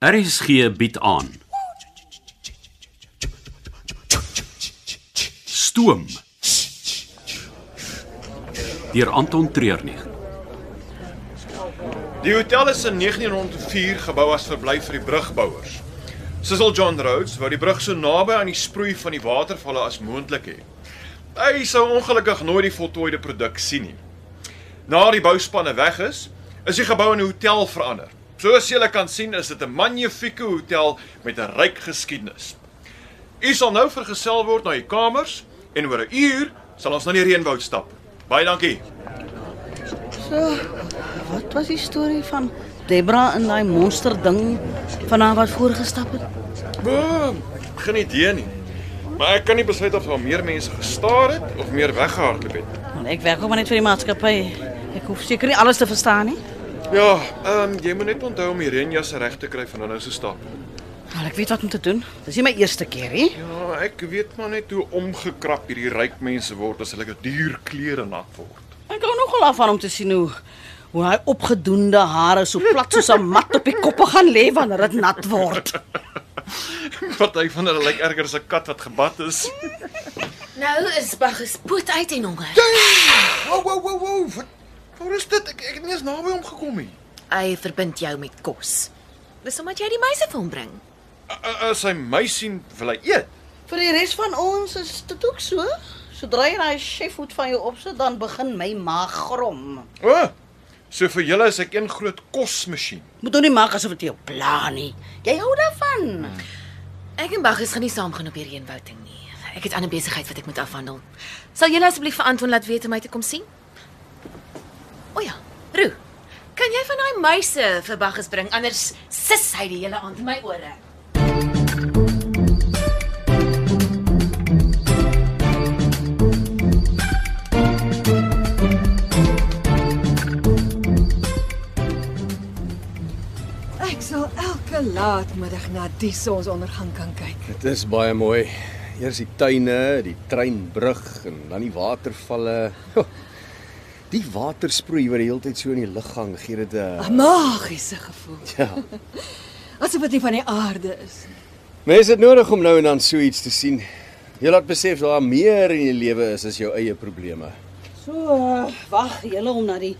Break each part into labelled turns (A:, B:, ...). A: RSG bied aan. Stoom. Deur Anton Treurnig.
B: Die hotel is in 1904 gebou as verblyf vir die brugbouers. Cecil John Rhodes wou die brug so naby aan die sproei van die watervalle as moontlik hê. Hy sou ongelukkig nooit die voltooide produk sien nie. Na die bouspanne weg is, is die gebou in 'n hotel verander. Soos julle kan sien, is dit 'n magnifieke hotel met 'n ryk geskiedenis. U sal nou vergesel word na u kamers en oor 'n uur sal ons na die reënwoud stap. Baie dankie.
C: So, wat was die storie van Debra en daai monster ding van haar wat voorgestap het?
B: Boom, geen idee nie. Maar ek kan nie besluit of daar meer mense gestaar het of meer weggehardloop het.
C: Want ek werk ook maar net vir die maatskappy. Ek hoef seker nie alles te verstaan nie.
B: Ja, ehm um, jy moet net onthou om die reënjas reg te kry van nou se stap.
C: Maar ek weet wat om te doen. Dis nie my eerste keer nie.
B: Ja, ek weet maar net hoe omgekrap hierdie ryk mense word as hulle die duur klere nat word.
C: Ek hou nogal af van om te sien hoe hoe hy opgedoende hare so plat soos 'n mat op die koppe gaan lê wanneer dit nat word.
B: Wat hy van hulle lyk erger as 'n kat wat gebad is.
D: Nou is Bagges poot uit en honger.
B: Wow, wow, wow, wow. Wat waar is dit? Ek ek het nie eens naby hom gekom nie.
D: Hy verbind jou met kos. Dis omdat jy die meise vir hom bring.
B: As hy my sien, wil hy eet.
C: Vir die res van ons is dit ook so. Sodra jy daai chefvoet van jou opsit, dan begin my maag grom.
B: O. Oh, so vir julle is ek een groot kosmasjien.
C: Moet nou nie maak asof dit jou pla nie. Jy hou daarvan.
D: Ek en Bagges gaan nie saam gaan op hierdie eenwouting nie. Ek het ander besigheid wat ek moet afhandel. Sal julle asseblief vir Anton laat weet om my te kom sien? O ja, Roo. Kan jy van daai meise vir Bagges bring anders sis hy die hele aand in my ore.
E: Ek sal elke laatmiddag na die sonsondergang kan kyk.
F: Dit is baie mooi. Eers die tuine, die treinbrug en dan die watervalle. Ho, Die watersproei wat die hele tyd so in die lug hang, gee dit
E: 'n
F: 'n
E: Magiese gevoel.
F: ja.
E: Asof dit nie van die aarde is. nie.
F: Mense het nodig om nou en dan so iets te sien. Jy laat besef dat daar meer in die lewe is as jou eie probleme.
C: So, eh, wag julle om na die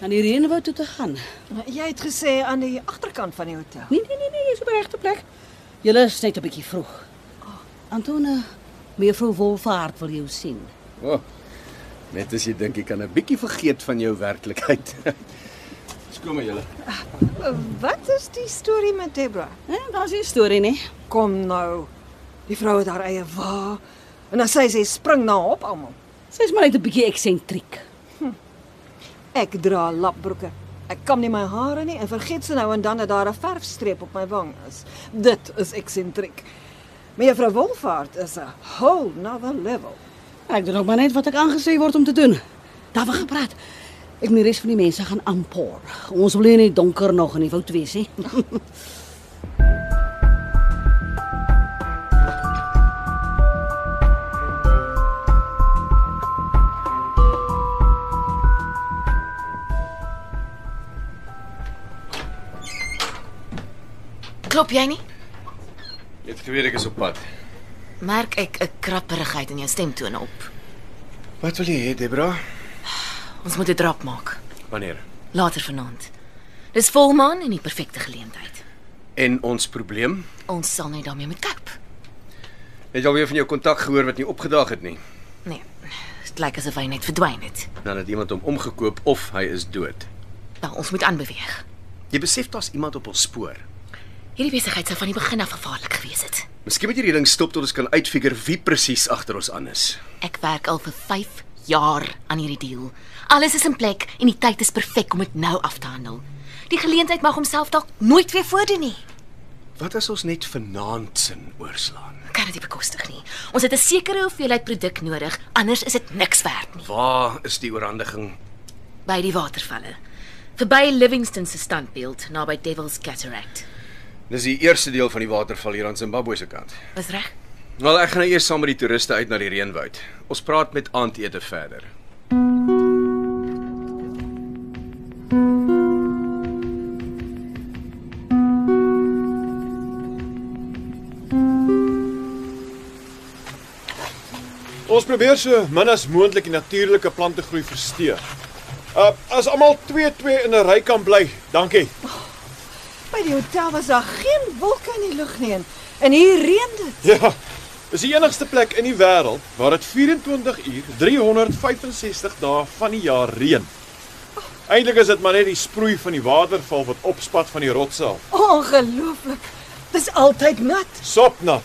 C: na die reënwoud toe te gaan.
E: Maar Jy het gesê aan die agterkant van die hotel.
C: Nee, nee, nee, nee, jy's op die regte plek. Julle is net 'n bietjie vroeg. Antone, mevrou Wolfhard wil jou sien.
F: O. Oh, net as jy dink jy kan 'n bietjie vergeet van jou werklikheid. Skoma julle.
E: Eh, Wat is die storie met Debra?
C: Hè, daar's nie 'n storie nie.
E: Kom nou. Die vrou het haar eie wa en dan sê sy spring na hom op almal.
C: Sy's maar net 'n bietjie eksentriek.
E: Ek dra lapbroeke. Ek kam nie my hare nie en vergeet se nou en dan dat daar 'n verfstreep op my wang is. Dit is eksentriek. Mevrou Wolfhard is 'n whole nother level.
C: Ek doen ook maar net wat ek aangesê word om te doen. Daar word gepraat. Ek moet die res van die mense gaan aanpoor. Ons wil nie in die donker nog in die woud wees nie.
D: Klop jy nie?
F: Jy het geweet ek is op pad.
D: Merk ek 'n krapperigheid in jou stemtone op.
F: Wat wil jy hê, Debra?
D: Ons moet 'n drap maak
F: Wanneer?
D: later vanaand. Dis volmaan en die perfekte geleentheid.
F: En ons probleem?
D: Ons sal net daarmee moet koop.
F: Het jy alweer van jou kontak gehoor wat nie opgedaag het nie?
D: Nee. Dit lyk asof hy net verdwyn het.
F: Nadat iemand hom omgekoop of hy is dood.
D: Nou, ons moet aanbeweeg.
F: Jy besef daar's iemand op ons spoor.
D: Hierdie besigheid sou van die begin af gevaarlik gewees het.
F: Miskien moet hierdie ding stop tot ons kan uitfigure wie presies agter ons aan is.
D: Ek werk al vir 5 jaar aan hierdie deal. Alles is in plek en die tyd is perfek om dit nou af te handel. Die geleentheid mag homself dalk nooit weer voordoen nie.
F: Wat as ons net vanaand sin oorslaan?
D: Kan dit nie bekostig nie. Ons het 'n sekere hoeveelheid produk nodig, anders is dit niks werd nie.
F: Waar is die oorhandiging?
D: By die watervalle. Verby Livingston se standbeeld naby Devil's Cataract.
F: Dis die eerste deel van die waterval hier aan Zimbabwe se kant.
D: Is reg?
F: Wel, ek gaan nou eers saam met die toeriste uit na die reënwoud. Ons praat met aandete verder.
B: Ons probeer so min as moontlik die natuurlike plantegroei versteur. Uh as almal 2-2 in 'n ry kan bly, dankie.
E: By die hotel was daar geen wolke in die lug nie en- en hier reën dit.
B: Ja. Dis die enigste plek in die wêreld waar dit 24 uur 365 dae van die jaar reën. Eintlik is dit maar net die sproei van die waterval wat opspat van die rotse af.
E: Ongelooflik. Dis altyd nat.
B: Sopnat.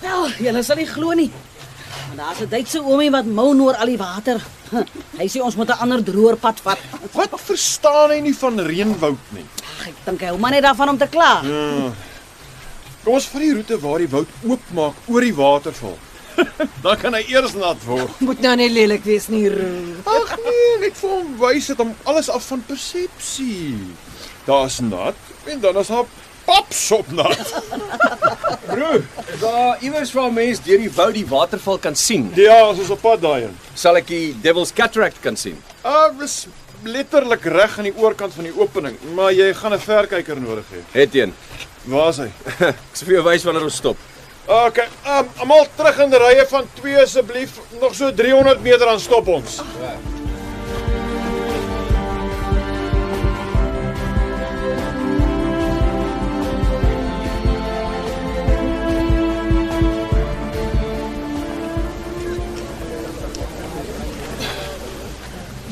C: Wel, julle sal nie glo nie. Maar daar's 'n Duitse oomie wat mou oor al die water. Hy sê ons moet 'n ander droër pad vat.
B: Wat verstaan hy nie van reënwoud nie?
C: Ag, Ek dink hy hou maar net daarvan om te kla.
B: Kom ons vat die roete waar die woud oopmaak oor die waterval. Dan kan hy eers nat word.
E: Moet nou nie lelik wees nie, Roo.
B: Ag nee, net vir hom wys dit hom alles af van persepsie. Daar's nat en dan is daar papsopnat. Bro,
F: Is daar iewers waar mens deur die woud die waterval kan sien?
B: ja, ons is op pad daarheen.
F: Sal ek die Devil's Cataract kan sien?
B: Ah, dis letterlik reg aan die oorkant van die opening, maar jy gaan 'n verkyker nodig hê.
F: Het een.
B: Waar is hy?
F: Ek sal vir jou wys wanneer ons stop.
B: Okay, um, almal terug in die rye van 2 asseblief. Nog so 300 meter dan stop ons.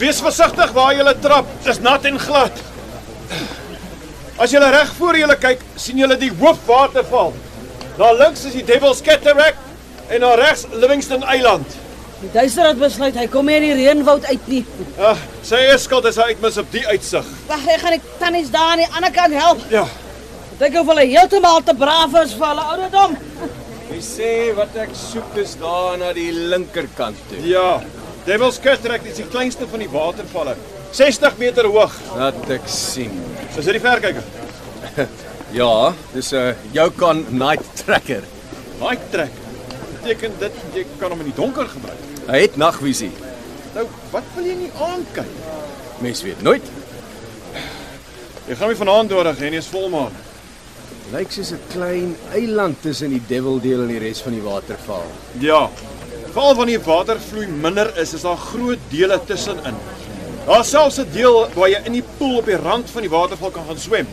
B: Wees versigtig waar jy trap. Dis nat en glad. As jy reg voor jou kyk, sien jy die hoofwaterval. Daar links is die Devil's Cataract en daar regs Livingston Eiland.
C: Die Duitser het besluit hy kom hier in die reënwoud uit nie.
B: Ag, sy is skuld as hy uitmis op die uitsig.
C: Wag, ek gaan die tannies daar aan die ander kant help.
B: Ja.
C: Dink of hulle heeltemal te braaf is vir hulle ouderdom.
F: Jy sê wat ek soek is daar na die linkerkant toe.
B: Ja. Devil's Cataract is die kleinste van die watervalle. 60 meter hoog.
F: Laat ek sien.
B: Is dit die verkyker?
F: Ja, dis 'n Yukon Night Tracker.
B: Night track. Beteken dit jy kan hom in die donker gebruik.
F: Hy het nagvisie.
B: Nou, wat wil jy nie aankyk?
F: Mens weet nooit.
B: Jy gaan my vanaand nodig hê, nie is volmaan.
F: Lyk soos 'n klein eiland tussen die Devil Deel en die res van die waterval.
B: Ja. Veral wanneer die watervloei minder is, is daar groot dele tussenin. Daar's selfs 'n deel waar jy in die poel op die rand van die waterval kan gaan swem.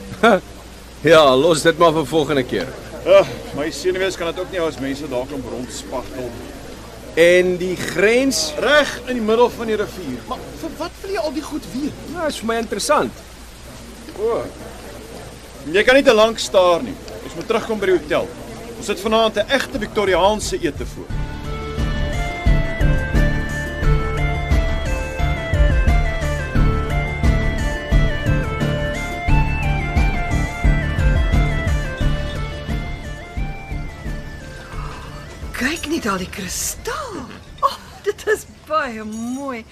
F: Ja, los dit maar vir volgende keer.
B: Ag, my senuwees kan dit ook nie hou as mense daar kom rondspagtel.
F: En die grens,
B: Reg in die middel van die rivier. Maar vir wat wil jy al die goed weet?
F: nou is vir my interessant.
B: O. Jy kan nie te lank staar nie. Ons moet terugkom by die hotel. Ons het vanaand 'n egte Victoriaanse ete voor.
E: Kyk net al die kristal. O, oh, dit is baie mooi.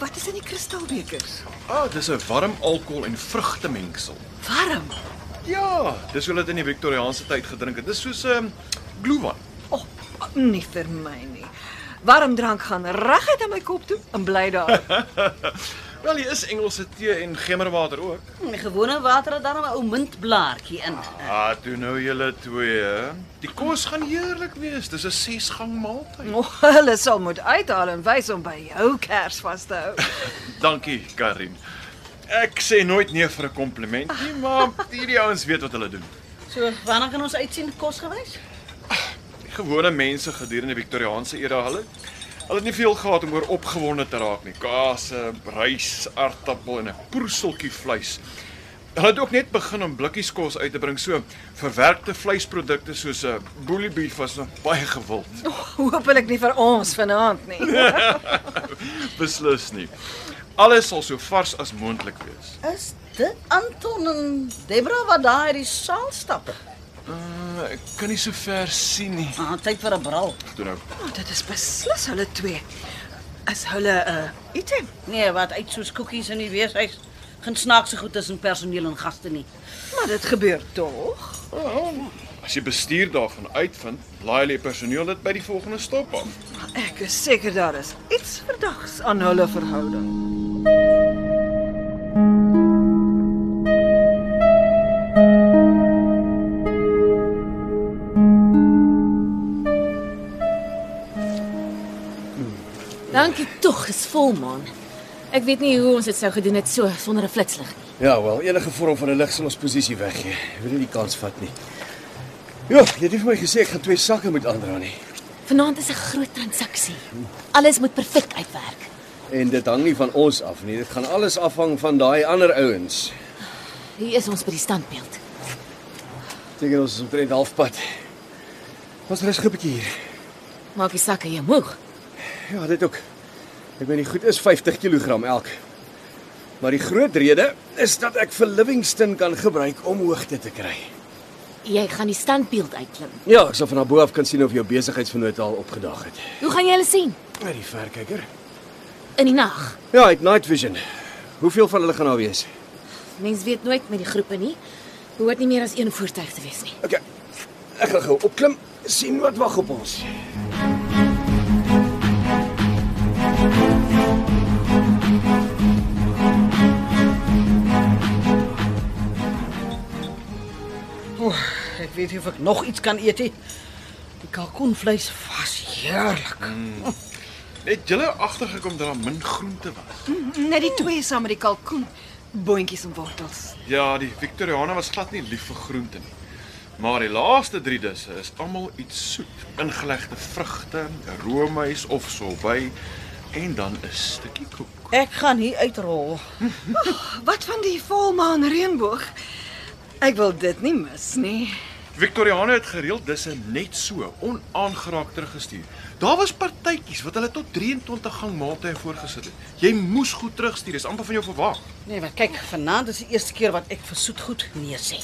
E: Wat is in die kristalbekers?
B: Ah, dis 'n warm alkohol en vrugtemengsel.
E: Warm.
B: Ja, dis hoe dit in die Victoriaanse tyd gedrink het. Dis soos 'n um, gloewyn.
E: O, oh, nie vir my nie. Warm drank gaan reguit aan my kop toe en bly daar.
B: Wel, hier is Engelse tee en gemmerwater ook.
C: Hmm, Die gewone water het dan 'n ou muntblaartjie in.
B: Ah, toe nou julle twee. hè. Die kos gaan heerlik wees. Dis 'n 6-gang maaltyd.
E: O, hulle sal moet uithaal en wys om by jou kers vas te hou.
B: Dankie, Karin. Ek sê nooit nee vir 'n kompliment nie, maar hierdie ouens weet wat hulle doen.
C: So, wanneer kan ons uitsien kosgewys?
B: Die gewone mense gedurende die Victoriaanse era, hulle hulle het nie veel gehad om oor opgewonde te raak nie. Kaas, rys, aartappel en 'n poerseltjie vleis. Hulle het ook net begin om blikkies kos uit te bring. So verwerkte vleisprodukte soos 'n bully beef was nog baie gewild.
E: Oh, Hoopelik nie vir ons vanaand nie.
B: Beslis nie. Alles sal so vars as moontlik wees.
C: Is dit Anton en Debra wat daar uit die saal stap?
B: Uh, ek kan nie so ver sien nie.
C: Ah, tyd vir 'n bril.
B: Toe nou.
E: Oh, dit is beslis hulle twee. Is hulle 'n uh, item?
C: Nee, wat uit soos koekies in die weeshuis. Geen snaakse goed tussen personeel en gaste nie.
E: Maar dit gebeur tog.
B: As jy bestuur daarvan uitvind, laai hulle die personeel dit by die volgende stop af.
E: Ek is seker daar is iets verdags aan hulle verhouding.
D: Dankie tog, is volmaan. Ek weet nie hoe ons dit sou gedoen het so sonder 'n flitslig nie.
F: Ja, wel, enige vorm van 'n lig sal ons posisie weggee. Ek wil nie die kans vat nie. Ja, jy het nie vir my gesê ek gaan twee sakke moet aandra nie.
D: Vanaand is 'n groot transaksie. Alles moet perfek uitwerk.
F: En dit hang nie van ons af nie. Dit gaan alles afhang van daai ander ouens.
D: Hier is ons by die standbeeld.
F: Seker ons is omtrent halfpad. Ons rus gou 'n bietjie hier.
D: Maak die sakke jou moeg.
F: Ja, dit ook. Ek weet nie goed is 50 kg elk. Maar die groot rede is dat ek vir Livingston kan gebruik om hoogte te kry.
D: Jy gaan die standbeeld uitklim.
F: Ja, ek sal van daarbo af kan sien of jou besigheidsvennote al opgedag het.
D: Hoe gaan jy hulle sien?
F: Met die verkyker.
D: In die nag.
F: Ja, hy het night vision. Hoeveel van hulle gaan daar wees?
D: Mens weet nooit met die groepe nie. Behoort nie meer as een voertuig te wees nie.
F: Okay. Ek gaan gou opklim, sien wat wag op ons.
C: Ek weet nie of ek nog iets kan eet nie. Die kalkoenvleis was heerlik.
B: Het julle agtergekom dat daar min groente was?
E: Net die twee saam met die kalkoen, boontjies en wortels.
B: Ja, die Victoriana was glad nie lief vir groente nie. Maar die laaste 3 disse is almal iets soet, ingelegde vrugte, roomys of sorbet en dan 'n stukkie koek.
C: Ek gaan hier uitrol.
E: Wat van die volmaan reënboog? Ek wil dit nie mis nie.
B: Victoriana het gereeld disse net so onaangeraak teruggestuur. Daar was partytjies wat hulle tot 23 gang maaltye voorgesit het. Jy moes goed terugstuur, dis amper van jou verwag.
C: Nee, maar kyk, vanaand is die eerste keer wat ek vir soetgoed nee sê.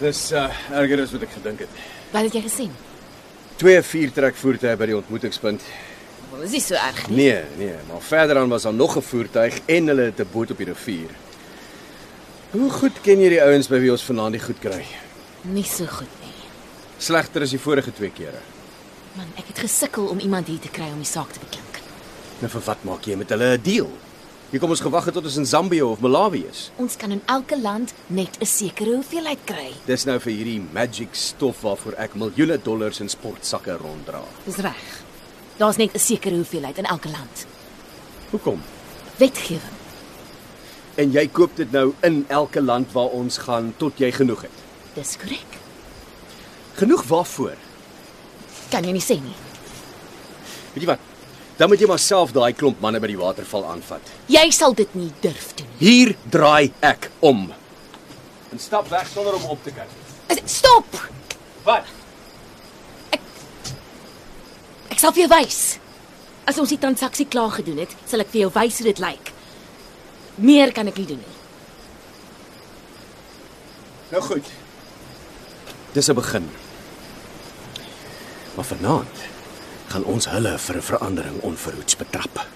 F: Dis uh, erger as wat ek gedink het.
D: Wat het jy gesien?
F: Twee viertrek voertuie by die ontmoetingspunt.
D: Wel, is nie so erg nie.
F: Nee, nee, maar verder aan was daar nog 'n voertuig en hulle het 'n boot op die rivier. Hoe goed ken jy die ouens by wie ons vanaand die goed kry?
D: Nie so goed nie.
F: Slegter as die vorige twee kere.
D: Man, ek het gesukkel om iemand hier te kry om die saak te beklink.
F: Nou vir wat maak jy met hulle 'n deal? Jy kom ons gewag het tot ons in Zambië of Malawi is.
D: Ons kan in elke land net 'n sekere hoeveelheid kry.
F: Dis nou vir hierdie magic stof waarvoor ek miljoene dollars in sportsakke ronddra.
D: Dis reg. Daar's net 'n sekere hoeveelheid in elke land.
F: Hoekom?
D: Wetgewing.
F: En jy koop dit nou in elke land waar ons gaan tot jy genoeg het.
D: Dis korrek.
F: Genoeg waarvoor?
D: Kan jy nie sê nie.
F: Weet jy wat? Dan moet jy maar self daai klomp manne by die waterval aanvat.
D: Jy sal dit nie durf doen nie.
F: Hier draai ek om. En stap weg sonder om op te kyk.
D: Is- Stop.
F: Wat?
D: Ek sal vir jou wys. As ons die transaksie klaar gedoen het, sal ek vir jou wys hoe dit lyk. Meer kan ek nie doen nie.
F: Nou goed. Dis 'n begin. Maar vanaand gaan ons hulle vir 'n verandering onverhoeds betrap.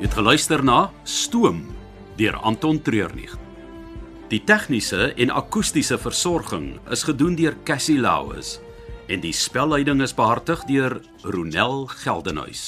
A: Jy het geluister na Stoom deur Anton Treurnig. Die tegniese en akoestiese versorging is gedoen deur Cassie Lauis en die spelleiding is behartig deur Ronel Geldenhuys.